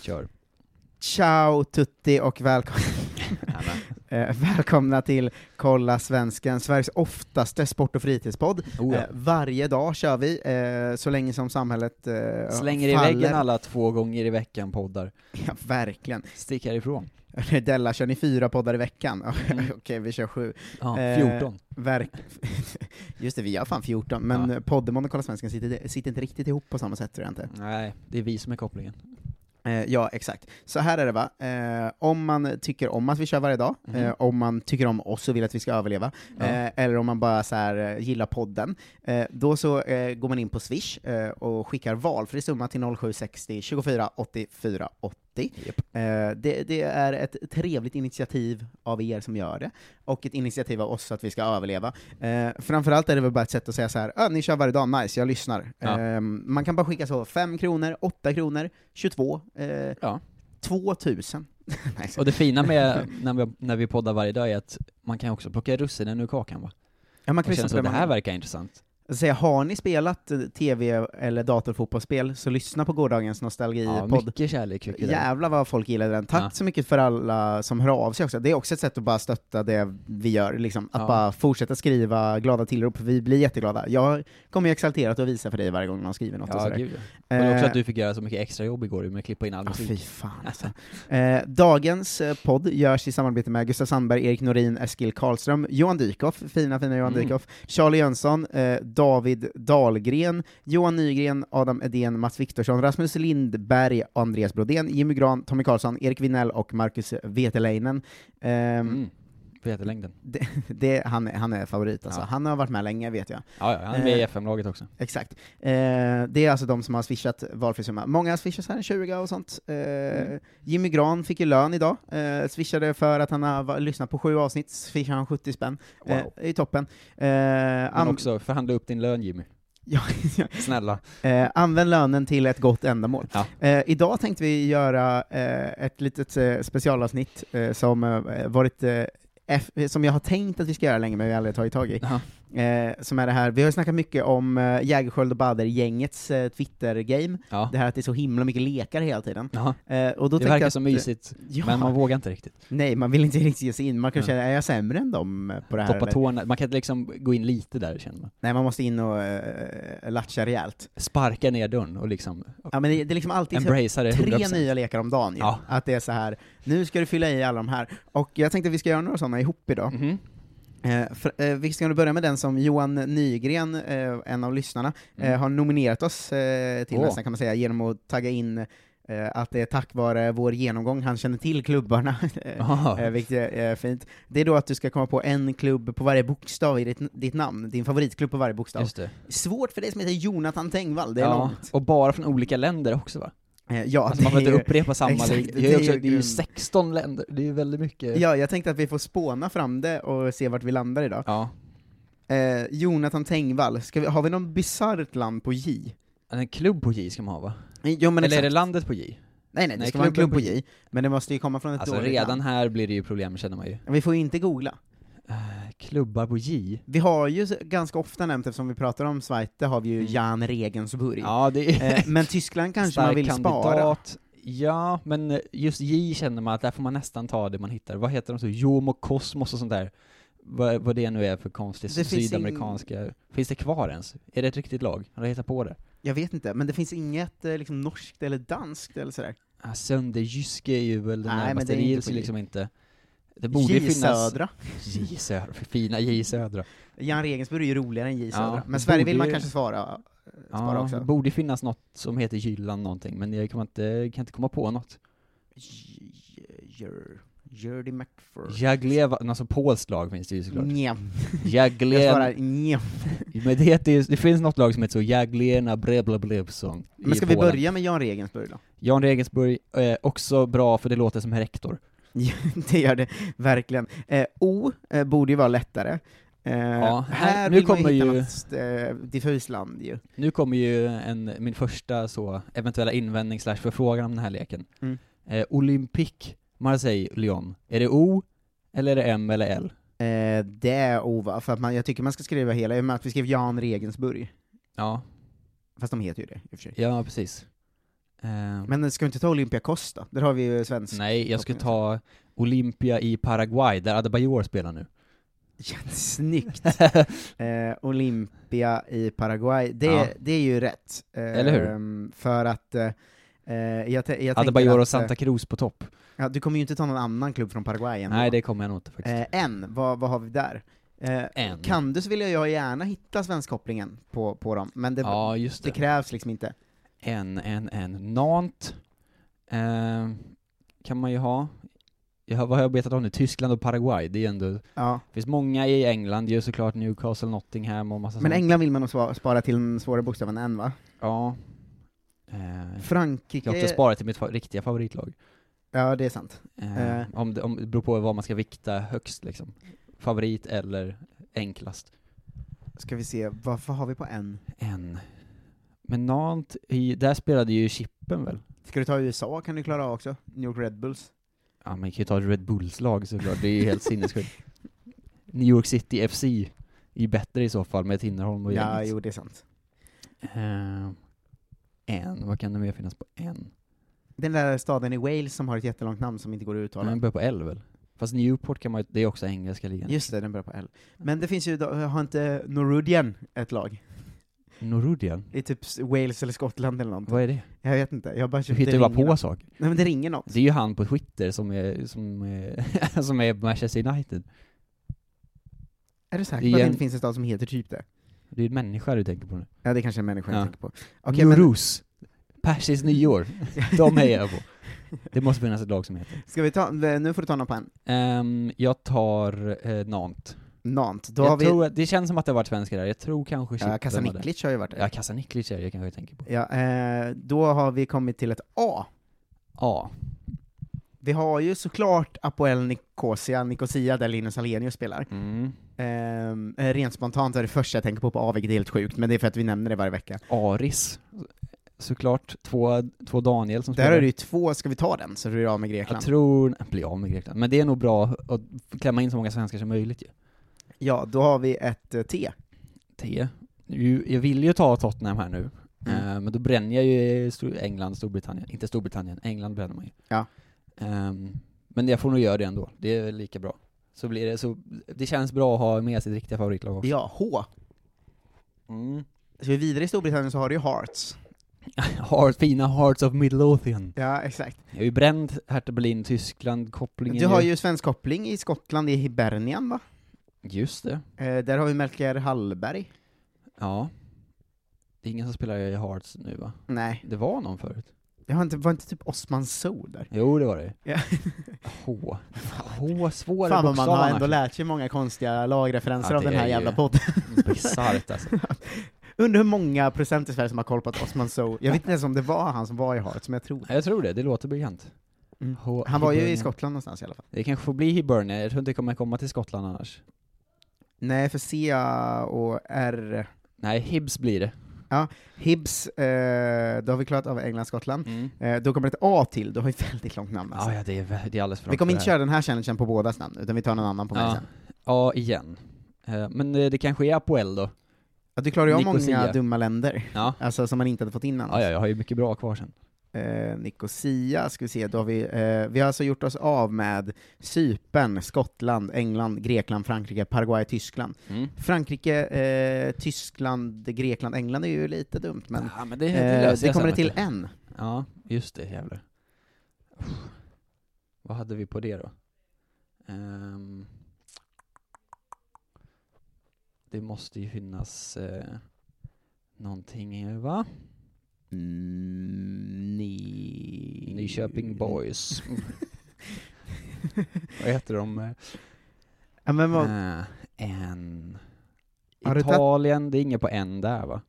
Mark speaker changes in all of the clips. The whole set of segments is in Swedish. Speaker 1: Kör.
Speaker 2: Ciao tutti och välkom eh, välkomna till Kolla Svensken, Sveriges oftaste sport och fritidspodd.
Speaker 1: Oh, ja.
Speaker 2: Eh, varje dag kör vi, eh, så länge som samhället eh,
Speaker 1: Slänger i
Speaker 2: faller.
Speaker 1: väggen alla två gånger i veckan poddar.
Speaker 2: Ja, verkligen.
Speaker 1: Stick härifrån.
Speaker 2: Della, kör ni fyra poddar i veckan?
Speaker 1: Mm.
Speaker 2: Okej, vi kör sju.
Speaker 1: Ja,
Speaker 2: Eh,
Speaker 1: 14.
Speaker 2: Verk... Just det, vi gör fan 14, men ja. Poddemon och Kolla Svensken sitter, sitter inte riktigt ihop på samma sätt tror jag inte.
Speaker 1: Nej, det är vi som är kopplingen.
Speaker 2: Eh, ja, exakt. Så här är det va, eh, om man tycker om att vi kör varje dag,
Speaker 1: Mhm.
Speaker 2: eh, om man tycker om oss och vill att vi ska överleva,
Speaker 1: Ja.
Speaker 2: eh, eller om man bara så här, eh, gillar podden, eh, då så eh, går man in på Swish eh, och skickar valfri summa till 0760 24 84 80.
Speaker 1: Japp.
Speaker 2: Eh, det, det är ett trevligt initiativ av er som gör det, och ett initiativ av oss så att vi ska överleva. Eh, framförallt är det väl bara ett sätt att säga så här, "Ah, ni kör varje dag, nice, jag lyssnar.
Speaker 1: Ja.
Speaker 2: Eh, man kan bara skicka så, 5 kronor, 8 kronor, 22, eh,
Speaker 1: Ja.
Speaker 2: 2000. Nej, så-
Speaker 1: Och det fina med när vi, när vi poddar varje dag är att man kan också plocka russinen ur kakan va?
Speaker 2: ja, man
Speaker 1: Man känner så
Speaker 2: lyssna
Speaker 1: att
Speaker 2: på
Speaker 1: det
Speaker 2: man-
Speaker 1: här verkar intressant.
Speaker 2: säga, har ni spelat eh, tv eller datorfotbollsspel, så lyssna på gårdagens
Speaker 1: Ja,
Speaker 2: nostalgipodd.
Speaker 1: mycket kärlek fick vi där.
Speaker 2: Jävlar vad folk gillade den. Tack
Speaker 1: Ja.
Speaker 2: så mycket för alla som hör av sig också. Det är också ett sätt att bara stötta det vi gör, liksom. Att
Speaker 1: Ja.
Speaker 2: bara fortsätta skriva glada tillrop, vi blir jätteglada. Jag kommer ju exalterat att visa för dig varje gång någon skriver något och
Speaker 1: Ja,
Speaker 2: sådär.
Speaker 1: gud ja. Och det är också
Speaker 2: Eh,
Speaker 1: att du fick göra så mycket extra jobb igår med att klippa in all
Speaker 2: Ja, Ah, fy
Speaker 1: musik.
Speaker 2: fan alltså. eh, Dagens eh, podd görs i samarbete med Gustav Sandberg, Erik Norin, Eskil Karlström, Johan Dykhoff, fina fina Johan
Speaker 1: Mm.
Speaker 2: Dykhoff, Charlie Jönsson, eh, David Dahlgren, Johan Nygren, Adam Edén, Mats Viktorsson, Rasmus Lindberg, Andreas Brodén, Jimmy Gran, Tommy Karlsson, Erik Vinell och Marcus Veteleinen. Ehm,
Speaker 1: Mm. På jättelängden.
Speaker 2: det, det, han, är- han är favorit alltså.
Speaker 1: Ja.
Speaker 2: Han har varit med länge vet jag.
Speaker 1: Ja, ja, han är med i
Speaker 2: Eh,
Speaker 1: FM-laget också.
Speaker 2: Exakt. Eh, det är alltså de som har swishat valfri summa. Många har swishat så här en 20 och sånt. Eh,
Speaker 1: Mm.
Speaker 2: Jimmy Gran fick ju lön idag, eh, swishade för att han har va- lyssnat på sju avsnitt, swishade han 70 spänn. Eh,
Speaker 1: Wow.
Speaker 2: I toppen. Eh,
Speaker 1: Men
Speaker 2: an-
Speaker 1: också, förhandla upp din lön Jimmy.
Speaker 2: ja,
Speaker 1: Snälla.
Speaker 2: eh, använd lönen till ett gott ändamål.
Speaker 1: Ja.
Speaker 2: Eh, idag tänkte vi göra eh, ett litet eh, specialavsnitt eh, som eh, varit eh, F- som jag har tänkt att vi ska göra länge, men vi har aldrig tagit tag i.
Speaker 1: Ja.
Speaker 2: Eh, som är det här, vi har ju snackat mycket om eh, Jägerskiöld och Bader-gängets eh, Twitter-game,
Speaker 1: Ja.
Speaker 2: det här att det är så himla mycket lekar hela tiden.
Speaker 1: Ja.
Speaker 2: Eh, och då
Speaker 1: Det
Speaker 2: tänkte
Speaker 1: verkar
Speaker 2: jag
Speaker 1: så
Speaker 2: att-
Speaker 1: mysigt,
Speaker 2: Ja,
Speaker 1: men man vågar inte riktigt.
Speaker 2: Nej, man vill inte riktigt ge sig in. Man kan
Speaker 1: Ja.
Speaker 2: känna, är jag sämre än dem eh, på det här?
Speaker 1: Toppa
Speaker 2: eller?"
Speaker 1: tårna, man kan inte liksom gå in lite där känner man.
Speaker 2: Nej, man måste in och uh, latcha rejält.
Speaker 1: Sparka ner dörren och liksom
Speaker 2: Ja, men det, det är liksom alltid så
Speaker 1: embracea det 100%.
Speaker 2: tre nya lekar om dagen ju.
Speaker 1: Ja.
Speaker 2: Att det är så här, nu ska du fylla i alla de här. Och jag tänkte att vi ska göra några sådana ihop idag.
Speaker 1: Mhm.
Speaker 2: Eh, för, eh, vi ska nu börja med den som Johan Nygren, eh, en av lyssnarna,
Speaker 1: Mm.
Speaker 2: eh, har nominerat oss eh, till
Speaker 1: Åh.
Speaker 2: nästan kan man säga, genom att tagga in eh, att det är tack vare vår genomgång han känner till klubbarna, eh,
Speaker 1: Aha.
Speaker 2: eh, vilket är är fint. Det är då att du ska komma på en klubb på varje bokstav i ditt, ditt namn, din favoritklubb på varje bokstav.
Speaker 1: Just det.
Speaker 2: Svårt för dig som heter Jonathan Tengvall, det är
Speaker 1: ja.
Speaker 2: långt.
Speaker 1: Och bara från olika länder också va?
Speaker 2: Eh, ja,
Speaker 1: Alltså man
Speaker 2: det
Speaker 1: behöver
Speaker 2: är ju-
Speaker 1: inte upprepa samma
Speaker 2: exakt,
Speaker 1: lig-
Speaker 2: det
Speaker 1: det, är
Speaker 2: är
Speaker 1: också,
Speaker 2: ju
Speaker 1: det är ju
Speaker 2: grund-
Speaker 1: 16 länder, det är ju väldigt mycket.
Speaker 2: Ja, jag tänkte att vi får spåna fram det och se vart vi landar idag.
Speaker 1: ja.
Speaker 2: Eh, Jonathan Tengvall, ska vi, har vi någon bisarrt land på J?
Speaker 1: En klubb på J ska man ha va?
Speaker 2: Jo, men
Speaker 1: Eller är
Speaker 2: exakt.
Speaker 1: det landet på J?
Speaker 2: Nej, nej, det
Speaker 1: Nej,
Speaker 2: ska vara en klubb
Speaker 1: klubben
Speaker 2: på
Speaker 1: på
Speaker 2: J, men det måste ju komma från ett
Speaker 1: Alltså
Speaker 2: dåligt
Speaker 1: redan
Speaker 2: namn.
Speaker 1: här blir det ju problem känner man ju.
Speaker 2: Vi får ju inte googla.
Speaker 1: Eh, Klubbar på J?
Speaker 2: Vi har ju så- ganska ofta nämnt, eftersom vi pratar om Schweiz, där har vi ju
Speaker 1: Mm.
Speaker 2: Jan Regensburg.
Speaker 1: Ja det är
Speaker 2: Eh, men Tyskland kanske man
Speaker 1: stark
Speaker 2: vill spara.
Speaker 1: kandidat. Ja, men eh, just J känner man att där får man nästan ta det man hittar. Vad heter de så? Jom och Kosmos och sånt där. Vad, vad det nu är för konstigt
Speaker 2: Det finns
Speaker 1: sydamerikanska. Finns det kvar ens? Är det ett riktigt lag? Har de hittat på det?
Speaker 2: Jag vet inte, men det finns inget eh, liksom, norskt eller danskt eller sådär.
Speaker 1: Ah, Sönderjyske är ju väl den
Speaker 2: Nej, men
Speaker 1: närmaste.
Speaker 2: det är
Speaker 1: Det
Speaker 2: inte
Speaker 1: gills
Speaker 2: på
Speaker 1: ju
Speaker 2: J.
Speaker 1: liksom inte. Det borde ju
Speaker 2: J
Speaker 1: finnas...
Speaker 2: Södra.
Speaker 1: J Södra. Fina J Södra.
Speaker 2: Jan Regensburg är ju roligare än J
Speaker 1: Ja,
Speaker 2: Södra. men
Speaker 1: det
Speaker 2: Sverige vill
Speaker 1: borde
Speaker 2: man
Speaker 1: ju-
Speaker 2: kanske svara, spara
Speaker 1: Ja, det
Speaker 2: också.
Speaker 1: borde finnas något som heter Jylland någonting, men jag kan inte, kan inte komma på något.
Speaker 2: Jurdy McFur.
Speaker 1: Jagleva, alltså polskt lag finns det ju såklart.
Speaker 2: Njem. Mm. Jag
Speaker 1: Jaglen...
Speaker 2: svarar njem.
Speaker 1: Men det, heter ju, det finns något lag som heter så, Jaglena Breblablebson i
Speaker 2: Men ska vi
Speaker 1: Polen.
Speaker 2: börja med Jan Regensburg då?
Speaker 1: Jan Regensburg, eh, också bra för det låter som rektor.
Speaker 2: Ja, det gör det verkligen. Eh, o eh, borde ju vara lättare. Eh,
Speaker 1: Ja,
Speaker 2: här,
Speaker 1: här- nu
Speaker 2: vill man
Speaker 1: kommer
Speaker 2: ju hitta
Speaker 1: ju-
Speaker 2: något eh, diffust land ju.
Speaker 1: Nu kommer ju en, min första så, eventuella invändning slash förfrågan om den här leken.
Speaker 2: Mm.
Speaker 1: Eh, Olympique, Marseille, Lyon. Är det O, eller är det M eller L?
Speaker 2: Eh, det är O va, för att man, jag tycker man ska skriva hela, i och med att vi skrev Jan Regensburg,
Speaker 1: Ja,
Speaker 2: fast de heter ju det i och för sig.
Speaker 1: ja precis. Eh,
Speaker 2: Mm. Men ska vi inte ta Olympiakos då? Där har vi ju svensk.
Speaker 1: nej, jag skulle ta Olympia i Paraguay, där Adebayor spelar nu.
Speaker 2: Ja, snyggt! eh, Olympia i Paraguay, det,
Speaker 1: Ja.
Speaker 2: det är ju rätt. Eh,
Speaker 1: Eller hur?
Speaker 2: ehm, För att eh, eh, jag, te- jag tänker
Speaker 1: Adebayor
Speaker 2: att,
Speaker 1: och Santa Cruz på topp.
Speaker 2: eh, ja, du kommer ju inte ta någon annan klubb från Paraguay ändå.
Speaker 1: Nej, det kommer jag nog inte faktiskt.
Speaker 2: eh, än, vad, vad har vi där? Eh,
Speaker 1: Än.
Speaker 2: Kan du så vill jag gärna hitta svenskkopplingen på, på dem, men det,
Speaker 1: ja, just
Speaker 2: det
Speaker 1: det.
Speaker 2: krävs liksom inte.
Speaker 1: En, en, en. Nant eh, kan man ju ha. Jag, har- vad har jag betat av nu? Tyskland och Paraguay, det är ju ändå... Det
Speaker 2: Ja.
Speaker 1: finns många i England, det är ju såklart Newcastle, Nottingham och massa
Speaker 2: Men
Speaker 1: sånt.
Speaker 2: England vill man nog sva- spara till den svåra bokstaven än va?
Speaker 1: Ja. Eh,
Speaker 2: Frankrike...
Speaker 1: jag har också sparat till mitt fa- riktiga favoritlag.
Speaker 2: Ja, det är sant.
Speaker 1: Eh,
Speaker 2: Eh.
Speaker 1: Om, det, om det beror på vad man ska vikta högst liksom. Favorit eller enklast.
Speaker 2: Ska vi se, vad, vad har vi på en?
Speaker 1: En. Men Nant, i, där spelade ju Chippen väl?
Speaker 2: Ska du ta USA kan du klara av också? New York Red Bulls?
Speaker 1: Ja, man kan ju ta ett Red Bulls-lag såklart, det är ju helt sinnessjukt. New York City FC är ju bättre i så fall med Tinnerholm och
Speaker 2: Ja,
Speaker 1: gänget.
Speaker 2: jo det är sant.
Speaker 1: Eh, en, vad kan det mer finnas på en?
Speaker 2: Den där staden i Wales som har ett jättelångt namn som inte går att uttala.
Speaker 1: Den börjar på L väl? Fast Newport kan man ju, det är också engelska ligan.
Speaker 2: Just det, den börjar på L. Men det finns ju, då- har inte Norudien ett lag?
Speaker 1: Norudien?
Speaker 2: Det är typ s- Wales eller Skottland eller något.
Speaker 1: Vad är det?
Speaker 2: Jag vet inte, jag bara
Speaker 1: Du
Speaker 2: köpte
Speaker 1: hittar ju bara
Speaker 2: ringen.
Speaker 1: på saker.
Speaker 2: Nej men det ringer något.
Speaker 1: Det är ju han på Twitter som är, som är, som är Manchester United.
Speaker 2: Är du säker
Speaker 1: Det är
Speaker 2: på att det
Speaker 1: en-
Speaker 2: inte finns en stad som heter typ det?
Speaker 1: Det är ju en människa du tänker på nu.
Speaker 2: Ja, det är kanske är en människa jag
Speaker 1: Ja.
Speaker 2: tänker på.
Speaker 1: Okay,
Speaker 2: Okej, men
Speaker 1: Persis nyår. De hejar jag på. Det måste finnas ett lag som heter.
Speaker 2: ska vi ta, nu får du ta någon på en.
Speaker 1: Ehm, jag tar eh, Nant.
Speaker 2: Nant. Då har
Speaker 1: Jag
Speaker 2: vi,
Speaker 1: tror att, det känns som att det har varit svenskar där, jag tror kanske
Speaker 2: ja,
Speaker 1: Chippen
Speaker 2: Kasaniklic har ju varit
Speaker 1: var
Speaker 2: det.
Speaker 1: där. Ja, Kasaniklic är det jag kanske tänker på.
Speaker 2: Ja, eh, då har vi kommit till ett A.
Speaker 1: Ja.
Speaker 2: Vi har ju såklart Apoel Nicosia, Nicosia där Linus Alenius spelar.
Speaker 1: Mm.
Speaker 2: Ehm, Eh, rent spontant är det första jag tänker på på A, vilket är helt sjukt, men det är för att vi nämner det varje vecka.
Speaker 1: Aris, såklart. Två, två Daniel som
Speaker 2: Där har du ju två, ska vi ta den, så du är av med
Speaker 1: Jag
Speaker 2: Grekland?
Speaker 1: tror... Bli av med Grekland. Men det är nog bra att klämma in så många svenskar som möjligt ju.
Speaker 2: Ja, då har vi ett eh, T.
Speaker 1: T. Ju- Jag vill ju ta Tottenham här nu,
Speaker 2: Mm.
Speaker 1: eh, men då bränner jag ju Stor- England, Storbritannien. Inte Storbritannien, England bränner man ju.
Speaker 2: Ja.
Speaker 1: Ehm, men jag får nog göra det ändå, det är lika bra. Så blir det, så, det känns bra att ha med sitt riktiga favoritlag också.
Speaker 2: Ja, H.
Speaker 1: Mm.
Speaker 2: Så vi är vidare i Storbritannien så har du ju Hearts.
Speaker 1: Heart, fina Hearts of Midlothian.
Speaker 2: Ja, exakt.
Speaker 1: Jag har ju bränt Hertha Berlin, Tyskland, kopplingen
Speaker 2: Du har ju svensk koppling i Skottland, i Hibernian va?
Speaker 1: Just det.
Speaker 2: Eh, där har vi Melker Hallberg.
Speaker 1: Ja. Det är ingen som spelar i Hearts nu va?
Speaker 2: Nej,
Speaker 1: Det var någon förut.
Speaker 2: det har inte, var inte typ Osman So där?
Speaker 1: Jo, det var det
Speaker 2: Ja.
Speaker 1: H. H, svåra
Speaker 2: Fan vad man har
Speaker 1: bokstav
Speaker 2: ändå
Speaker 1: annars.
Speaker 2: lärt sig många konstiga lagreferenser
Speaker 1: Ja,
Speaker 2: av
Speaker 1: det
Speaker 2: den här
Speaker 1: är ju-
Speaker 2: jävla podden.
Speaker 1: Bisarrt alltså.
Speaker 2: Undrar hur många procent i Sverige som har koll på att Osman So, jag vet inte ens om det var han som var i Hearts, men jag tror det.
Speaker 1: Ja, Jag tror det, det låter bekant.
Speaker 2: Mm.
Speaker 1: H-
Speaker 2: Han var ju i
Speaker 1: Hibernian.
Speaker 2: Skottland någonstans i alla fall.
Speaker 1: Det kanske får bli Hibernia, jag tror inte det kommer komma till Skottland annars.
Speaker 2: Nej, för C och R.
Speaker 1: Nej, Hibs blir det.
Speaker 2: Hibs, eh, då har vi klarat av England, Skottland. Eh, då kommer ett A till, då har vi väldigt långt namn alltså.
Speaker 1: Ja, ja, det är, vä- det är alldeles för
Speaker 2: Vi
Speaker 1: långt
Speaker 2: kommer
Speaker 1: för
Speaker 2: inte
Speaker 1: det här.
Speaker 2: köra den här challengen på bådas namn, utan vi tar någon annan på mig sen.
Speaker 1: Ja, igen. Eh, Men eh, det kanske är Apoel då?
Speaker 2: Ja, du klarar ju av många
Speaker 1: Nicosia.
Speaker 2: dumma länder,
Speaker 1: Ja.
Speaker 2: alltså som man inte hade fått in
Speaker 1: Ja,
Speaker 2: annars.
Speaker 1: ja, jag har ju mycket bra kvar sen.
Speaker 2: Eh, Nicosia, ska vi se, då har vi, eh, vi har alltså gjort oss av med Cypern, Skottland, England, Grekland, Frankrike, Paraguay, Tyskland. Frankrike, eh, Tyskland, Grekland, England är ju lite dumt, men
Speaker 1: ja, men Ah, det,
Speaker 2: eh,
Speaker 1: det löser
Speaker 2: det
Speaker 1: jag
Speaker 2: kommer
Speaker 1: sen,
Speaker 2: det till
Speaker 1: vet du.
Speaker 2: en.
Speaker 1: Ja, just det, jävlar. Uff. Vad hade vi på det då? Ehm. det måste ju finnas eh, någonting, va?
Speaker 2: Mm, ny...
Speaker 1: Nyköping Boys. Vad heter de? Eh,
Speaker 2: Ja, men vad,
Speaker 1: en...
Speaker 2: Har du tagit-
Speaker 1: Italien, det är inget på en där va?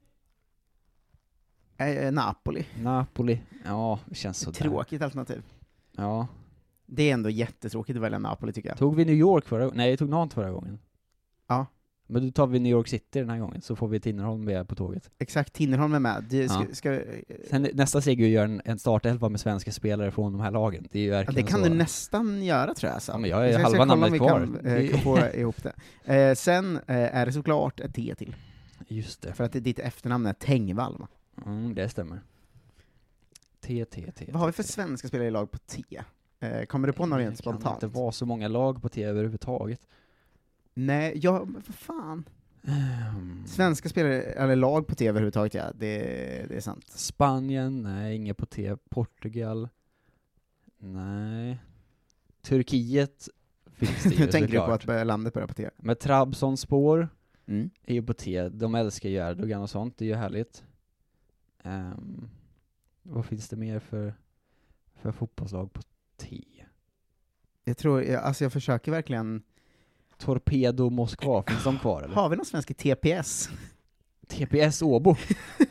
Speaker 2: eh, Napoli.
Speaker 1: Napoli, ja, det känns sådär.
Speaker 2: Tråkigt alternativ.
Speaker 1: Ja.
Speaker 2: Det är ändå jättetråkigt att välja Napoli tycker jag.
Speaker 1: Tog vi New York förra gången? Nej, vi tog Nantes förra gången.
Speaker 2: Ja.
Speaker 1: Men då tar vi New York City den här gången, så får vi Tinnerholm med på tåget.
Speaker 2: Exakt, Tinnerholm är med. Du, ska,
Speaker 1: Ja.
Speaker 2: ska, eh,
Speaker 1: Sen, nästa steg är ju att göra en, en startelva med svenska spelare från de här lagen. Det är ju
Speaker 2: ja,
Speaker 1: verkligen
Speaker 2: det kan
Speaker 1: så.
Speaker 2: du nästan göra tror jag. Sam.
Speaker 1: Ja, men jag har
Speaker 2: Vi
Speaker 1: ju
Speaker 2: ska- ska
Speaker 1: halva
Speaker 2: kolla om
Speaker 1: namnet kvar.
Speaker 2: vi Kan, eh, kan få ihop det. Eh, sen eh, är det såklart ett T till,
Speaker 1: Just det.
Speaker 2: för att ditt efternamn är Tengvall. va?
Speaker 1: Mm, det stämmer. T, T, T.
Speaker 2: Vad har vi för
Speaker 1: T, T.
Speaker 2: svenska spelare i lag på T? Eh, kommer du på någon rent
Speaker 1: Det kan
Speaker 2: spontant?
Speaker 1: inte vara så många lag på T överhuvudtaget.
Speaker 2: Nej, ja, men vad
Speaker 1: Mm.
Speaker 2: fan.
Speaker 1: Ehm,
Speaker 2: Svenska spelare, eller lag på T överhuvudtaget, ja. Det, det är sant.
Speaker 1: Spanien, nej, inget på T. Portugal, nej. Turkiet finns det ju
Speaker 2: nu tänker du på
Speaker 1: såklart.
Speaker 2: att eh, landet börjar på T.
Speaker 1: Med Trabzonspor
Speaker 2: Mm.
Speaker 1: är ju på T. De älskar ju Erdogan och sånt, det är ju härligt. Ehm, vad finns det mer för, för fotbollslag på T?
Speaker 2: Jag tror, jag, alltså jag försöker verkligen...
Speaker 1: Torpedo Moskva, finns de kvar eller?
Speaker 2: Har vi någon svensk i TPS?
Speaker 1: TPS Åbo?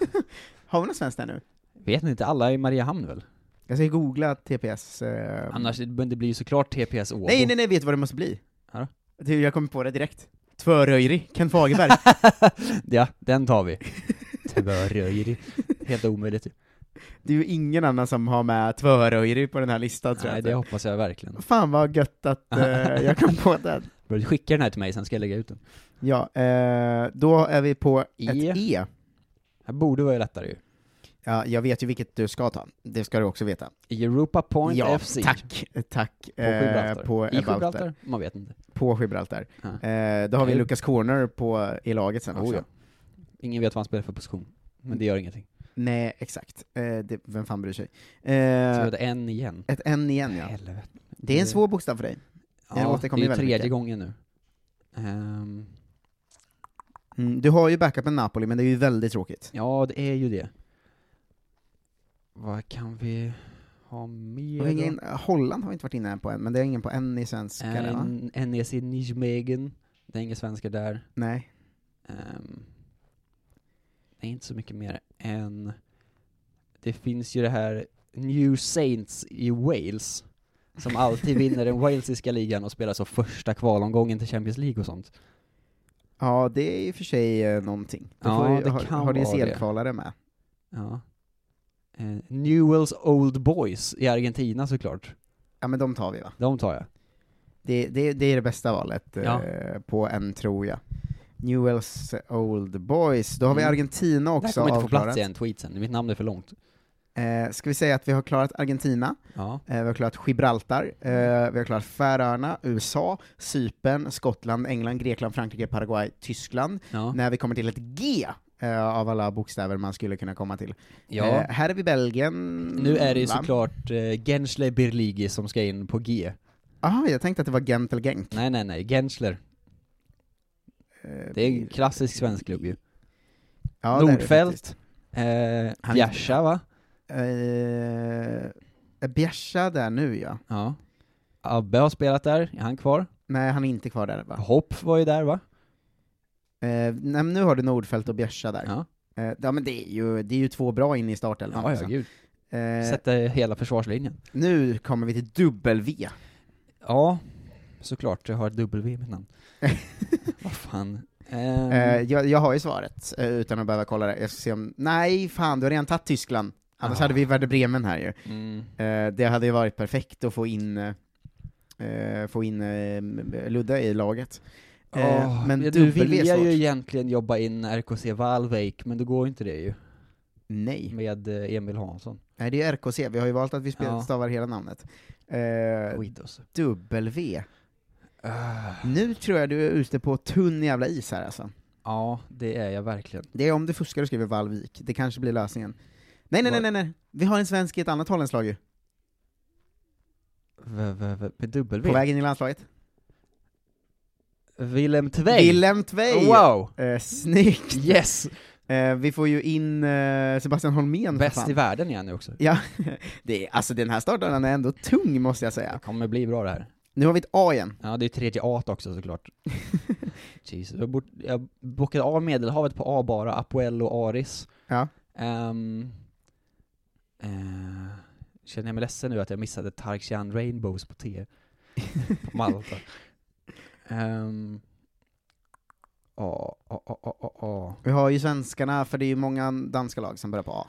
Speaker 2: Har vi någon svensk där nu?
Speaker 1: Vet ni inte, alla är i Mariehamn väl?
Speaker 2: Jag ska googla TPS. Eh,
Speaker 1: Annars, det- men det blir ju såklart TPS Åbo.
Speaker 2: Nej, nej, nej, vet du vad det måste bli?
Speaker 1: Ja
Speaker 2: Du, jag kommer på det direkt. Tvöröjri, Ken Fagerberg.
Speaker 1: ja, den tar vi. Tvöröjri. Helt omöjligt.
Speaker 2: det är ju ingen annan som har med Tvöröjri på den här listan tror
Speaker 1: Nej,
Speaker 2: jag.
Speaker 1: det
Speaker 2: inte.
Speaker 1: hoppas jag verkligen.
Speaker 2: Fan vad gött att eh, jag kom på den.
Speaker 1: Börjar du Skicka den här till mig, sen ska jag lägga ut den.
Speaker 2: Ja, eh, då är vi på
Speaker 1: E.
Speaker 2: ett E.
Speaker 1: Det borde vara lättare ju.
Speaker 2: Ja, jag vet ju vilket du ska ta. Det ska du också veta.
Speaker 1: Europa Point
Speaker 2: ja,
Speaker 1: FC.
Speaker 2: tack, tack.
Speaker 1: På
Speaker 2: eh,
Speaker 1: Gibraltar.
Speaker 2: på
Speaker 1: I Gibraltar? Man vet inte.
Speaker 2: På Gibraltar.
Speaker 1: Ja.
Speaker 2: Eh, då har vi
Speaker 1: Kul.
Speaker 2: Lucas Corner på, i laget sen också. Mm.
Speaker 1: Oh, ja. Ingen vet vad han spelar för position. Men det gör ingenting.
Speaker 2: Nej, exakt. Eh, det, vem fan bryr sig?
Speaker 1: Så vi
Speaker 2: Eh,
Speaker 1: hade en igen.
Speaker 2: ett N igen ja.
Speaker 1: Helvete.
Speaker 2: Det är en svår bokstav för dig. Den
Speaker 1: Ja, det är
Speaker 2: återkommer
Speaker 1: ju
Speaker 2: väldigt
Speaker 1: tredje
Speaker 2: mycket.
Speaker 1: gången nu. Ehm,
Speaker 2: Mm, du har ju backupen Napoli, men det är ju väldigt tråkigt.
Speaker 1: ja, det är ju det. Vad kan vi ha mer?
Speaker 2: Och vi har
Speaker 1: då?
Speaker 2: ingen, Holland har vi inte varit inne på än, men det är ingen på N i svenska, eller va?
Speaker 1: En- NEC Nijmegen, det är inga svenskar där.
Speaker 2: Nej.
Speaker 1: Ehm, det är inte så mycket mer än... Det finns ju det här New Saints i Wales, som alltid vinner den walesiska ligan och spelar så första kvalomgången till Champions League och sånt.
Speaker 2: Ja, det är i och för sig eh, någonting. Då
Speaker 1: Ja,
Speaker 2: får vi,
Speaker 1: det
Speaker 2: har,
Speaker 1: kan
Speaker 2: har din
Speaker 1: vara det.
Speaker 2: CL-kvalare med.
Speaker 1: Ja. Eh, Newells Old Boys i Argentina såklart.
Speaker 2: Ja, men de tar vi va?
Speaker 1: De tar jag.
Speaker 2: Det, det, det är det bästa valet eh,
Speaker 1: Ja.
Speaker 2: på en, tror jag. Newells Old Boys. Då har vi
Speaker 1: Mm.
Speaker 2: Argentina
Speaker 1: Det här
Speaker 2: också
Speaker 1: kommer inte få plats
Speaker 2: avklarat.
Speaker 1: i en tweet sen, mitt namn är för långt.
Speaker 2: Eh, ska vi säga att vi har klarat Argentina,
Speaker 1: Ja.
Speaker 2: eh, vi har klarat Gibraltar, eh, vi har klarat Färöarna, USA, Cypern, Skottland, England, Grekland, Frankrike, Paraguay, Tyskland.
Speaker 1: Ja.
Speaker 2: När vi kommer till ett G eh, av alla bokstäver man skulle kunna komma till.
Speaker 1: ja.
Speaker 2: Eh, här är vi Belgien.
Speaker 1: Nu är det ju
Speaker 2: va?
Speaker 1: såklart eh, Gensler Birligi som ska in på G.
Speaker 2: Jaha, jag tänkte att det var Gent eller Genk.
Speaker 1: Nej, nej, nej, Gensler.
Speaker 2: Eh,
Speaker 1: Det är en klassisk svensk klubb ju.
Speaker 2: ja, det är det
Speaker 1: Nordfeldt.
Speaker 2: faktiskt.
Speaker 1: Eh,
Speaker 2: Han-
Speaker 1: Bjärsa, va?
Speaker 2: Eh, är Bjärsa där nu ja.
Speaker 1: Ja. Abbe har spelat där, är han kvar?
Speaker 2: Nej, han är inte kvar där va?
Speaker 1: Hopp var ju där, va?
Speaker 2: Eh, nej, men nu har du Nordfeldt och Bjärsa där.
Speaker 1: Ja,
Speaker 2: Eh, ja men det är, ju, det är ju två bra in i startelvan.
Speaker 1: ja, ja
Speaker 2: också.
Speaker 1: gud.
Speaker 2: eh,
Speaker 1: Sätter hela försvarslinjen.
Speaker 2: nu kommer vi till W. Eh,
Speaker 1: Ja, såklart, jag har ett W i mitt namn. Vad fan. Ehm,
Speaker 2: Eh, jag, jag har ju svaret, eh, utan att behöva kolla det. Jag ska se om... Nej, fan, du har redan tagit Tyskland. Annars
Speaker 1: Ah.
Speaker 2: hade vi Werder Bremen här ju.
Speaker 1: mm,
Speaker 2: Eh, det hade ju varit perfekt att få in, eh, eh, få in eh, Ludde i laget. eh,
Speaker 1: åh,
Speaker 2: men
Speaker 1: ja,
Speaker 2: dubbel
Speaker 1: nu
Speaker 2: är
Speaker 1: vill jag
Speaker 2: svårt.
Speaker 1: ju egentligen jobba in RKC Valveik, men då går ju inte det ju,
Speaker 2: Nej.
Speaker 1: med eh, Emil Hansson.
Speaker 2: Nej, det är ju RKC, vi har ju valt att vi spel-
Speaker 1: Ja.
Speaker 2: stavar hela namnet. Eh,
Speaker 1: Skit alltså. oss.
Speaker 2: W.
Speaker 1: Ah,
Speaker 2: Nu tror jag du är ute på tunn jävla is här alltså.
Speaker 1: ja, det är jag verkligen.
Speaker 2: Det är om du fuskar och skriver Valvik, det kanske blir lösningen. Nej, nej, nej,
Speaker 1: Vad-
Speaker 2: nej, nej. vi har en svensk i ett annat holländskt lag ju,
Speaker 1: V- v- v- med W?
Speaker 2: på väg in i landslaget.
Speaker 1: Willem Tvei!
Speaker 2: Willem Tvei!
Speaker 1: Oh, Wow!
Speaker 2: Eh, snyggt!
Speaker 1: Yes!
Speaker 2: Eh, vi får ju in eh, Sebastian Holmén för
Speaker 1: Bäst i
Speaker 2: fan.
Speaker 1: världen igen nu också.
Speaker 2: Ja, det är, alltså den här starten är ändå tung måste jag
Speaker 1: Det
Speaker 2: säga.
Speaker 1: kommer bli bra det här.
Speaker 2: Nu har vi ett A igen.
Speaker 1: Ja, det är tredje A också såklart. Jesus. Jag, bort, jag bockade av Medelhavet på A bara, Apoel och Aris.
Speaker 2: Ja.
Speaker 1: Ehm, eh, känner jag mig ledsen nu att jag missade Tarxian Rainbows på T. på Malta. Ehm, A, A, A, A, A, A.
Speaker 2: Vi har ju svenskarna, för det är ju många danska lag som börjar på A.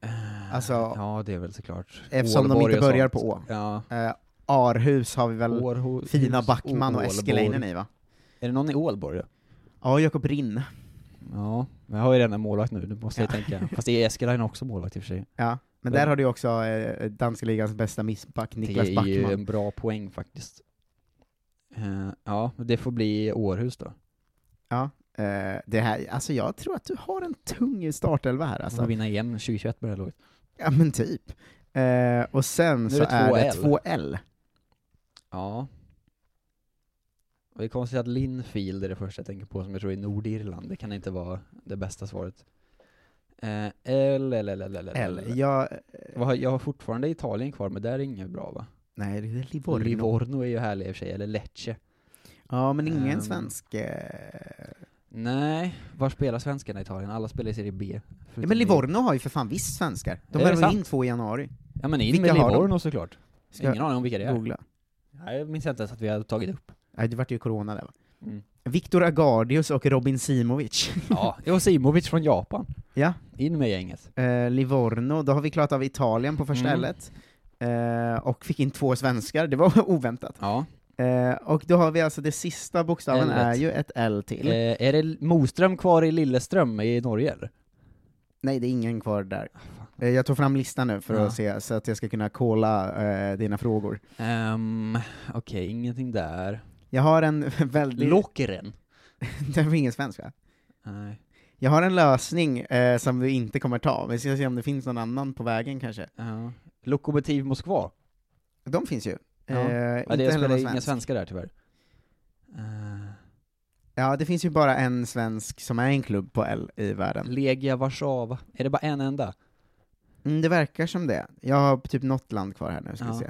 Speaker 1: Eh,
Speaker 2: Alltså-
Speaker 1: ja, det är väl såklart.
Speaker 2: Eftersom de
Speaker 1: Ålborg
Speaker 2: inte
Speaker 1: och
Speaker 2: börjar
Speaker 1: sånt.
Speaker 2: på Å.
Speaker 1: Ja.
Speaker 2: Eh, Arhus har vi väl
Speaker 1: Århus-
Speaker 2: fina Backman och
Speaker 1: Ålborg.
Speaker 2: Eskelinen i va?
Speaker 1: Är det någon i Ålborg?
Speaker 2: Ja, Jakob Rinne.
Speaker 1: Ja, men jag har ju redan en målvakt nu, nu måste jag tänka. Fast det är Eskelainen också målvakt i och för sig.
Speaker 2: Ja. Men där har du ju också eh, danska ligans bästa missback, Niklas
Speaker 1: det är ju
Speaker 2: Backman.
Speaker 1: en bra poäng faktiskt. Eh, ja, det får bli Århus då.
Speaker 2: Eh, det här, alltså jag tror att du har en tung startelva här
Speaker 1: Alltså.
Speaker 2: alltså.
Speaker 1: vinna EM 2021 på det här laget.
Speaker 2: Ja men typ. Eh, och sen
Speaker 1: Nu är
Speaker 2: så
Speaker 1: det
Speaker 2: är det
Speaker 1: 2L.
Speaker 2: 2L.
Speaker 1: Ja. Och det är konstigt att Linfield är det första jag tänker på som jag tror är Nordirland, det kan inte vara det bästa svaret. Eh, L, L, L, L, L,
Speaker 2: L. Jag,
Speaker 1: Vad har- Jag har fortfarande Italien kvar, men där är inget bra va?
Speaker 2: nej, det är Livorno.
Speaker 1: Livorno är ju härlig i och för sig, eller Lecce.
Speaker 2: Ja, men ingen
Speaker 1: Ehm.
Speaker 2: svensk. Eh,
Speaker 1: Nej, var spelar svenskarna i Italien? Alla spelar i Serie B.
Speaker 2: ja,
Speaker 1: förutom
Speaker 2: men
Speaker 1: i-
Speaker 2: Livorno har ju för fan visst svenskar.
Speaker 1: Är
Speaker 2: De
Speaker 1: det
Speaker 2: värvade
Speaker 1: sant?
Speaker 2: in två i januari.
Speaker 1: Ja men in
Speaker 2: Vilka
Speaker 1: med
Speaker 2: har de?
Speaker 1: Livorno såklart.
Speaker 2: Ska
Speaker 1: Ingen aning om vilka det
Speaker 2: jag
Speaker 1: är.
Speaker 2: googla?
Speaker 1: Nej, jag minns inte ens att vi hade tagit upp.
Speaker 2: Nej, det vart ju corona där va?
Speaker 1: Mm.
Speaker 2: Viktor Agardius och Robin Simovic.
Speaker 1: Ja, det var Simovic från Japan.
Speaker 2: ja.
Speaker 1: In med gänget.
Speaker 2: Eh, Livorno, då har vi klarat av Italien på första
Speaker 1: Mm.
Speaker 2: L:et. Eh, och fick in två svenskar, det var oväntat.
Speaker 1: Ja.
Speaker 2: Eh, och då har vi alltså, det sista bokstaven
Speaker 1: L-et.
Speaker 2: är ju ett L till.
Speaker 1: Eh, är det Moström kvar i Lilleström i Norge eller?
Speaker 2: Nej, det är ingen kvar där. Eh, jag tar fram listan nu för
Speaker 1: Ah, Ja.
Speaker 2: att se, så att jag ska kunna kolla eh, dina frågor.
Speaker 1: Ehm, Okej, ingenting där.
Speaker 2: Jag har en väldigt...
Speaker 1: Lokeren?
Speaker 2: det var ingen svenska.
Speaker 1: Nej.
Speaker 2: Jag har en lösning eh, som vi inte kommer ta, vi ska se om det finns någon annan på vägen kanske.
Speaker 1: Ja. Lokomotiv Moskva?
Speaker 2: De finns ju.
Speaker 1: Ja.
Speaker 2: Eh,
Speaker 1: Ja,
Speaker 2: inte
Speaker 1: det
Speaker 2: heller någon
Speaker 1: spelar
Speaker 2: svensk.
Speaker 1: inga svenskar där tyvärr. Eh,
Speaker 2: Ja, det finns ju bara en svensk som är en klubb på L i världen.
Speaker 1: Legia Warszawa? Är det bara en enda?
Speaker 2: Mm, det verkar som det. Jag har typ något land kvar här nu, ska vi
Speaker 1: Ja.
Speaker 2: se.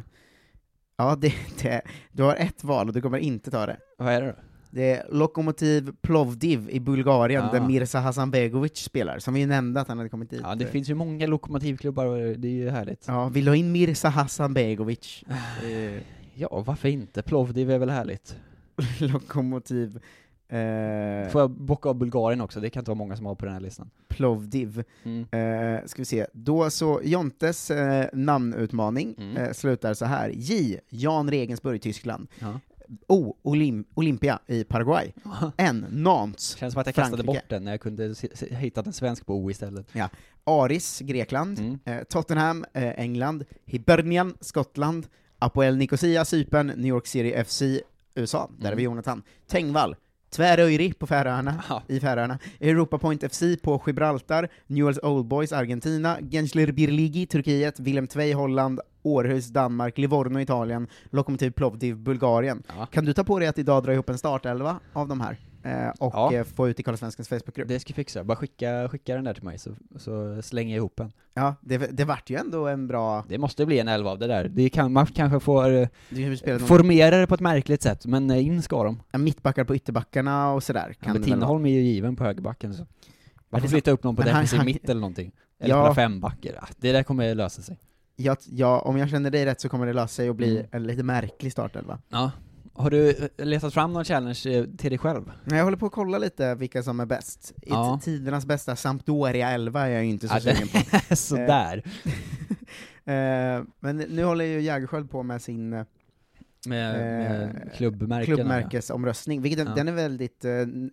Speaker 2: Ja, det, det, du har ett val och du kommer inte ta det.
Speaker 1: Vad är det då?
Speaker 2: Det är Lokomotiv Plovdiv i Bulgarien,
Speaker 1: Ja.
Speaker 2: där Mirza Hasanbegovic spelar, som vi ju nämnde att han hade kommit dit.
Speaker 1: Ja, det finns ju många lokomotivklubbar, det är ju härligt.
Speaker 2: Ja, vill du ha in Mirza Hasanbegovic? Eh,
Speaker 1: Ja, varför inte? Plovdiv är väl härligt?
Speaker 2: Lokomotiv eh,
Speaker 1: Får jag bocka av Bulgarien också? Det kan inte vara många som har på den här listan.
Speaker 2: Plovdiv.
Speaker 1: Mm.
Speaker 2: Eh, ska vi se, då så, Jontes eh, namnutmaning
Speaker 1: Mm.
Speaker 2: eh, slutar så här. J. Jan Regensburg, Tyskland.
Speaker 1: Ja.
Speaker 2: O. Olim- Olympia i Paraguay. N. Nantes.
Speaker 1: Känns som att jag kastade
Speaker 2: Frankrike.
Speaker 1: bort den när jag kunde se- se- hittat en svensk på O istället.
Speaker 2: Aris, Grekland.
Speaker 1: Mm.
Speaker 2: Eh, Tottenham, eh, England. Hibernian, Skottland. Apoel Nicosia, Cypern. New York City FC, USA. Där
Speaker 1: Mm.
Speaker 2: är vi Jonathan. Tengvall. Tväröyri på Färöarna.
Speaker 1: Ja.
Speaker 2: i Färöarna, Europa Point FC på Gibraltar, Newell's Old Boys Argentina, Gensler Birligi Turkiet, Willem Tvei Holland, Århus Danmark, Livorno Italien, Lokomotiv Plovdiv Bulgarien.
Speaker 1: Ja.
Speaker 2: Kan du ta på dig att idag dra ihop en startelva av de här? Eh, och
Speaker 1: Ja.
Speaker 2: eh, få ut i Karlsvenskans Facebookgrupp?
Speaker 1: Det ska jag fixa, bara skicka, skicka den där till mig så, så slänger jag ihop den.
Speaker 2: Ja, det, det vart ju ändå en bra...
Speaker 1: Det måste bli en elva av det där. Det kan, man kanske får eh,
Speaker 2: Du har ju spelat någon-
Speaker 1: formera det på ett märkligt sätt, men eh, in ska de.
Speaker 2: ja, mittbackar på ytterbackarna och sådär.
Speaker 1: Ja,
Speaker 2: Kan
Speaker 1: men
Speaker 2: det väl vara.
Speaker 1: Tinnerholm är ju given på högerbacken så. Man får
Speaker 2: det-
Speaker 1: flytta upp någon på
Speaker 2: men han-
Speaker 1: defensiv
Speaker 2: han-
Speaker 1: mitt eller någonting. Eller
Speaker 2: Ja.
Speaker 1: spela fembacker. Ah, Det där kommer lösa sig.
Speaker 2: Jag, ja, om jag känner dig rätt så kommer det lösa sig och bli
Speaker 1: Mm.
Speaker 2: en lite märklig startelva.
Speaker 1: Ja. Har du eh, letat fram någon challenge eh, till dig själv?
Speaker 2: Nej, Jag håller på att kolla lite vilka som är bäst. I
Speaker 1: Ja.
Speaker 2: t- tidernas bästa Sampdoria 11 är jag ju inte så
Speaker 1: Ja, det-
Speaker 2: sugen på.
Speaker 1: Sådär.
Speaker 2: Eh, men nu håller ju Jägerskiöld på med sin eh,
Speaker 1: Med, med
Speaker 2: eh,
Speaker 1: klubbmärkena. ja.
Speaker 2: klubbmärkesomröstning, vilket den-
Speaker 1: Ja.
Speaker 2: den är väldigt eh,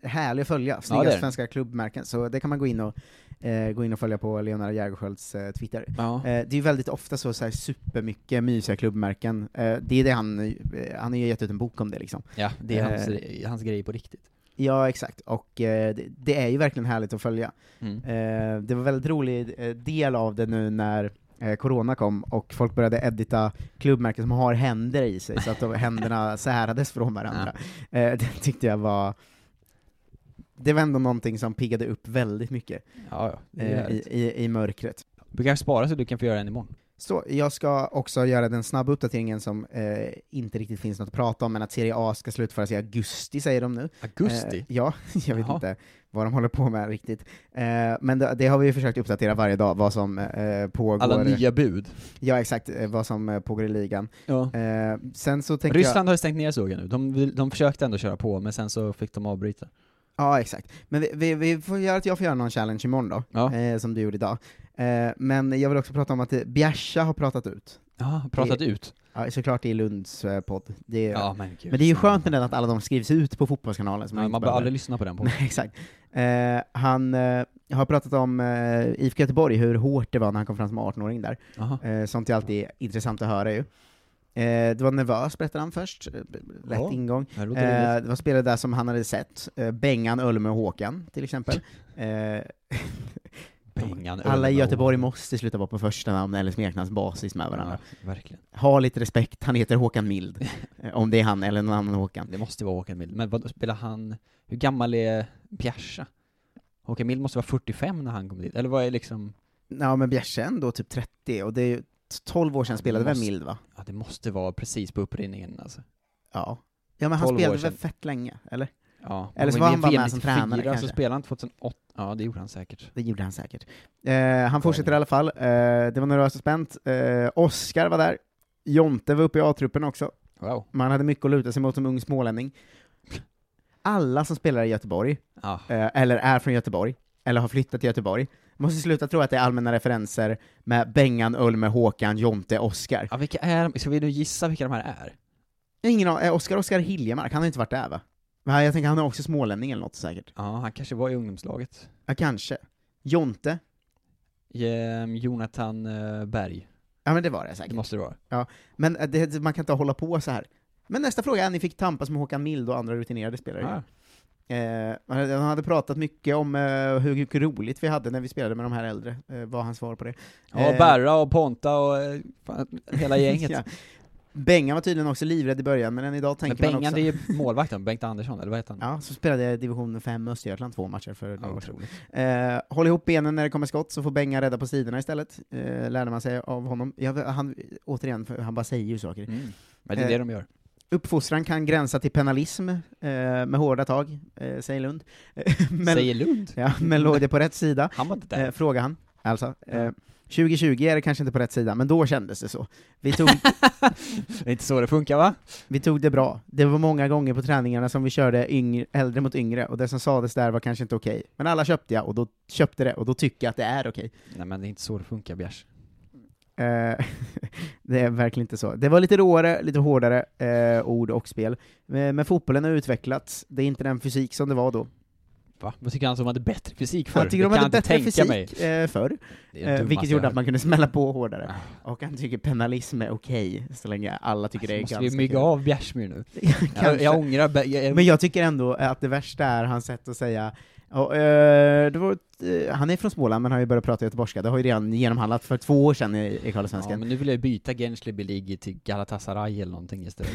Speaker 2: härlig att följa. Snygga
Speaker 1: det är den.
Speaker 2: svenska klubbmärken, så det kan man gå in och, eh, gå in och följa på Leonard Jägerskiölds eh, Twitter.
Speaker 1: Ja.
Speaker 2: Eh, det är ju väldigt ofta så, så här, supermycket mysiga klubbmärken. Eh, det är det han, eh, han har ju gett ut en bok om det liksom.
Speaker 1: Ja, det är hans, hans grej på riktigt.
Speaker 2: Ja, exakt. Och eh, det, det är ju verkligen härligt att följa.
Speaker 1: Mm.
Speaker 2: Eh, det var väldigt rolig eh, del av det nu när eh, corona kom och folk började edita klubbmärken som har händer i sig, så att de, händerna särades från varandra. Eh, det tyckte jag var... Det var ändå någonting som piggade upp väldigt mycket
Speaker 1: Ja, ja. Det är
Speaker 2: eh, i,
Speaker 1: härligt.
Speaker 2: i, i mörkret.
Speaker 1: Du kanske sparar så du kan få göra en imorgon.
Speaker 2: Så, jag ska också göra den snabba uppdateringen som eh, inte riktigt finns något att prata om, men att Serie A ska slutföras i augusti säger de nu. Eh,
Speaker 1: Augusti?
Speaker 2: ja, jag vet
Speaker 1: Jaha.
Speaker 2: inte vad de håller på med riktigt. Eh, men det, det har vi ju försökt uppdatera varje dag, vad som eh, pågår.
Speaker 1: Alla nya bud.
Speaker 2: Ja, exakt, eh, vad som eh, pågår i ligan.
Speaker 1: Ja.
Speaker 2: Eh, sen så tänker jag...
Speaker 1: Ryssland har ju stängt ner sågen nu. De, vill- de försökte ändå köra på, men sen så fick de avbryta.
Speaker 2: Ja, exakt. Men vi, vi, vi får göra att jag får göra någon challenge imorgon då,
Speaker 1: Ja.
Speaker 2: eh, som du gjorde idag. Eh, men jag vill också prata om att eh, Bjärsa har pratat ut.
Speaker 1: Ja, pratat ut.
Speaker 2: Ja, såklart i Lunds eh, podd. Det,
Speaker 1: Ja,
Speaker 2: är
Speaker 1: men gud.
Speaker 2: Men det är ju skönt med den att alla de skrivs ut på Fotbollskanalen. Så
Speaker 1: Ja,
Speaker 2: inte
Speaker 1: man behöver
Speaker 2: behöver-
Speaker 1: aldrig lyssna på den på.
Speaker 2: Nej, exakt. Eh, han, eh, Jag har pratat om eh, IFK Göteborg, hur hårt det var när han kom fram som 18-åring där.
Speaker 1: Aha.
Speaker 2: Eh, sånt är alltid intressant att höra ju. Eh, det var nervös, berättade han först. Eh, b- Lätt
Speaker 1: Ja.
Speaker 2: ingång.
Speaker 1: Det
Speaker 2: Eh,
Speaker 1: låter rimligt.
Speaker 2: det var spelare där som han hade sett. Eh, Bengan, Ölme och Håkan, till exempel. Eh,
Speaker 1: Bengan,
Speaker 2: alla i
Speaker 1: Ölme och-
Speaker 2: Göteborg måste sluta vara på första namn eller smeknamnsbasis med varandra.
Speaker 1: Ja, verkligen.
Speaker 2: Ha lite respekt, han heter Håkan Mild. Eh, om det är han eller någon annan Håkan.
Speaker 1: Det måste vara Håkan Mild. Men vad spelar han, hur gammal är Bjärsa? Håkan Mild måste vara 45 när han kom dit, eller vad är liksom,
Speaker 2: Ja, men Bjärse är ändå typ 30, och det är ju 12 år sedan
Speaker 1: Ja,
Speaker 2: spelade väl
Speaker 1: måste-
Speaker 2: Mild, va?
Speaker 1: ja det måste vara precis på upprinningen alltså.
Speaker 2: Ja. Ja, men han
Speaker 1: 12 år
Speaker 2: spelade väl
Speaker 1: sedan.
Speaker 2: fett länge, eller?
Speaker 1: Ja,
Speaker 2: Eller så
Speaker 1: men
Speaker 2: var
Speaker 1: i
Speaker 2: han bara
Speaker 1: VM
Speaker 2: med som
Speaker 1: 94
Speaker 2: tränare, kanske.
Speaker 1: så spelade han 2008, ja det gjorde han säkert.
Speaker 2: Det gjorde han säkert. Eh, han fortsätter i alla fall. Eh, det var nervöst och spänt. Eh, Oskar var där. Jonte var uppe i A-truppen också.
Speaker 1: Wow.
Speaker 2: Man hade mycket att luta sig mot som ung smålänning. Alla som spelar i Göteborg,
Speaker 1: Ja,
Speaker 2: eh, eller är från Göteborg, eller har flyttat till Göteborg, måste sluta tro att det är allmänna referenser med Bengan, Ulme, Håkan, Jonte, Oskar.
Speaker 1: ja vilka är de? Ska vi nu gissa vilka de här är?
Speaker 2: Ingen aning. Eh, Oskar Oskar Hiljemark, han har inte varit där va? Men jag tänker han är också smålänning eller något säkert.
Speaker 1: Ja, han kanske var i ungdomslaget.
Speaker 2: Ja, kanske. Jonte?
Speaker 1: Ehm, Jonathan eh, Berg,
Speaker 2: Ja men det var det
Speaker 1: det
Speaker 2: säkert.
Speaker 1: måste det vara.
Speaker 2: Men eh, det, man kan inte hålla på så här. Men nästa fråga är, ni fick tampas med Håkan Mild och andra rutinerade spelare.
Speaker 1: Ja.
Speaker 2: Eh, han hade- han hade pratat mycket om eh, hur mycket roligt vi hade när vi spelade med de här äldre, eh, vad hans svar på det.
Speaker 1: Ja,
Speaker 2: Eh,
Speaker 1: Berra och Ponta och eh, fan, hela gänget.
Speaker 2: Ja. Bengan var tydligen också livrädd i början, men än idag
Speaker 1: Men
Speaker 2: tänker man
Speaker 1: Bengan,
Speaker 2: också...
Speaker 1: det är ju målvakten, Bengt Andersson, eller vad heter han?
Speaker 2: Ja, så spelade jag i division 5 Östergötland två matcher för några
Speaker 1: Ja,
Speaker 2: år sedan.
Speaker 1: otroligt.
Speaker 2: Eh, håll ihop benen när det kommer skott, så får Bengan rädda på sidorna istället, eh, lärde man sig av honom. Jag, han, återigen, för han bara säger ju saker.
Speaker 1: Mm. Men
Speaker 2: Eh,
Speaker 1: det är det de gör.
Speaker 2: Uppfostran kan gränsa till penalism eh, med hårda tag, eh, säger Lund. Eh, men,
Speaker 1: Säger Lund.
Speaker 2: ja, men låg det på rätt sida?
Speaker 1: Han var inte där.
Speaker 2: Eh, frågar han. Alltså, eh,
Speaker 1: Ja.
Speaker 2: 2020 är det kanske inte på rätt sida, men då kändes det så. Vi tog,
Speaker 1: Det är inte så det funkar va?
Speaker 2: vi tog det bra. Det var många gånger på träningarna som vi körde yngre, äldre mot yngre, och det som sades där var kanske inte okej. Men alla köpte jag, och då köpte det, och då tycker jag att det är okej.
Speaker 1: Nej men det är inte så det funkar Bjärs.
Speaker 2: Eh, det är verkligen inte så. Det var lite råare, lite hårdare eh, ord och spel. Men, men fotbollen har utvecklats, det är inte den fysik som det var då.
Speaker 1: Va? Vad tycker han som hade bättre fysik förr?
Speaker 2: Han tycker
Speaker 1: Det
Speaker 2: de
Speaker 1: kan
Speaker 2: hade
Speaker 1: jag
Speaker 2: bättre
Speaker 1: inte tänka mig.
Speaker 2: fysik eh, förr,
Speaker 1: Det är det
Speaker 2: eh, vilket
Speaker 1: dummaste
Speaker 2: gjorde
Speaker 1: jag
Speaker 2: att man kunde smälla på hårdare.
Speaker 1: Ah.
Speaker 2: Och han tycker penalism är okej, så länge alla tycker det är
Speaker 1: Alltså, Måste
Speaker 2: ganska
Speaker 1: vi mygga
Speaker 2: kul.
Speaker 1: av Bjärsmyr nu? Jag,
Speaker 2: Kanske.
Speaker 1: jag ångrar Be- jag, jag,
Speaker 2: Men jag tycker ändå att det värsta är hans sätt att säga "Ja, eh, det var, ett, eh, han är från Småland men har ju börjat prata göteborgska, det har ju redan genomhandlat för två år sedan i, i
Speaker 1: Ja,
Speaker 2: Karlsvenskan.
Speaker 1: men nu vill jag ju byta Gensley Beligi till Galatasaray eller någonting istället.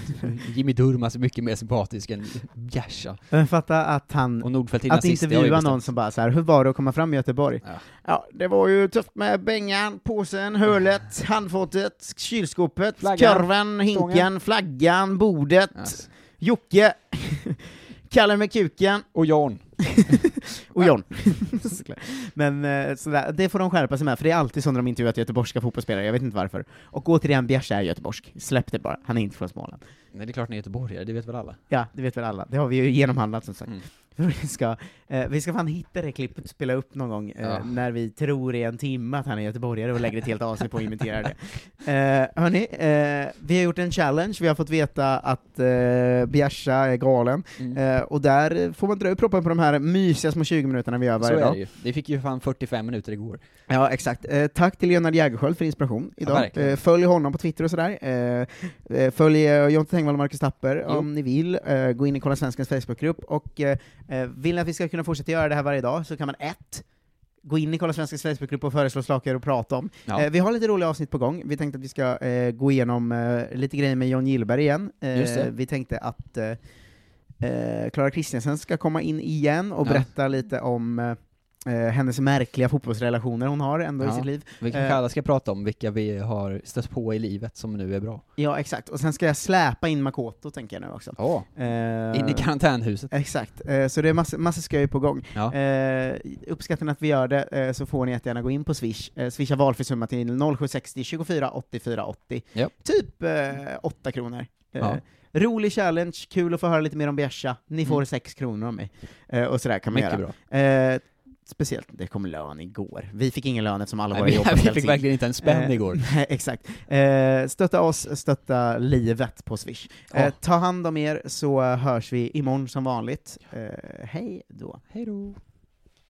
Speaker 1: Jimmy Durmaz är mycket mer sympatisk än Bjärsa.
Speaker 2: men... fatta att han
Speaker 1: Och Nordfeldt innan
Speaker 2: Att
Speaker 1: sist, det har ju
Speaker 2: intervjua
Speaker 1: bestämt.
Speaker 2: någon som bara så här, hur var det att komma fram i Göteborg?
Speaker 1: Ja.
Speaker 2: Ja, det var ju tufft med bengan, påsen, hölet, handfatet, kylskåpet,
Speaker 1: Flaggan,
Speaker 2: korven, hinken,
Speaker 1: stången.
Speaker 2: flaggan, bordet,
Speaker 1: Yes.
Speaker 2: Jocke, Kalle med kuken
Speaker 1: Och Jan.
Speaker 2: och John. Såklart. Men eh, sådär, det får de skärpa sig med, för det är alltid så när de intervjuat göteborgska fotbollsspelare, jag vet inte varför. Och återigen, Bjärs är göteborgsk. Släpp det bara, han är inte från Småland.
Speaker 1: Nej det är klart ni är göteborgare, det vet väl alla?
Speaker 2: Ja, det vet väl alla. Det har vi ju genomhandlat som sagt.
Speaker 1: Mm.
Speaker 2: För vi, ska, eh, vi ska fan hitta det klippet och spela upp någon gång, eh,
Speaker 1: Ja.
Speaker 2: när vi tror i en timme att han är göteborgare och lägger ett helt AC på att imitera det. Eh, hörni, eh, vi har gjort en challenge, vi har fått veta att eh, Bjärsa är galen,
Speaker 1: Mm.
Speaker 2: eh, och där får man dra upp proppen på de här mysiga små 20 minuterna vi gör
Speaker 1: Så
Speaker 2: varje
Speaker 1: är det
Speaker 2: dag.
Speaker 1: ju. Det fick ju fan 45 minuter igår.
Speaker 2: Ja, exakt. Eh, tack till Leonard Jägerskiöld för inspiration idag.
Speaker 1: verkligen.
Speaker 2: eh, följ honom på Twitter och sådär. Eh, eh, följ eh, Jonte Tengvall och Marcus Tapper
Speaker 1: Jo.
Speaker 2: om ni vill. Eh, gå in i Kolla Svenskans Facebookgrupp, och eh, eh, vill ni att vi ska kunna fortsätta göra det här varje dag så kan man ett, Gå in i Kolla Svenskans Facebookgrupp och föreslå saker att prata om.
Speaker 1: Ja.
Speaker 2: Eh, vi har lite roliga avsnitt på gång. Vi tänkte att vi ska eh, gå igenom eh, lite grejer med John Gillberg igen. Eh,
Speaker 1: Just det.
Speaker 2: Vi tänkte att eh, eh, Clara Kristiansen ska komma in igen och
Speaker 1: Ja.
Speaker 2: berätta lite om eh, eh, hennes märkliga fotbollsrelationer hon har ändå i
Speaker 1: Ja.
Speaker 2: sitt liv.
Speaker 1: Vi kanske
Speaker 2: Eh.
Speaker 1: alla ska prata om vilka vi har stött på i livet som nu är bra.
Speaker 2: Ja, exakt. Och sen ska jag släpa in Makoto, tänker jag nu också.
Speaker 1: Ja.
Speaker 2: Eh,
Speaker 1: In i karantänhuset.
Speaker 2: Exakt. Eh, så det är massa, massa skoj på gång.
Speaker 1: Ja.
Speaker 2: Eh, uppskattar ni att vi gör det eh, så får ni jättegärna gå in på Swish. Eh, swisha valfri summa till 0760 24 84 80.
Speaker 1: Ja.
Speaker 2: Typ eh, 8 kronor. Eh,
Speaker 1: Ja.
Speaker 2: Rolig challenge, kul att få höra lite mer om Bjärsa. Ni får
Speaker 1: Mm.
Speaker 2: 6 kronor av mig. Eh, och sådär kan man
Speaker 1: Mycket
Speaker 2: göra.
Speaker 1: bra.
Speaker 2: Eh, speciellt, det kom lön igår. Vi fick ingen lön efsom alla
Speaker 1: Nej,
Speaker 2: våra jobb har
Speaker 1: vi, vi
Speaker 2: ställts
Speaker 1: fick
Speaker 2: in.
Speaker 1: verkligen inte en spänn
Speaker 2: Eh,
Speaker 1: igår.
Speaker 2: Nej, exakt. Eh, stötta oss, stötta livet på Swish. Eh,
Speaker 1: Ja.
Speaker 2: Ta hand om er, så hörs vi imorgon som vanligt. Eh, hej då.
Speaker 1: Hej då.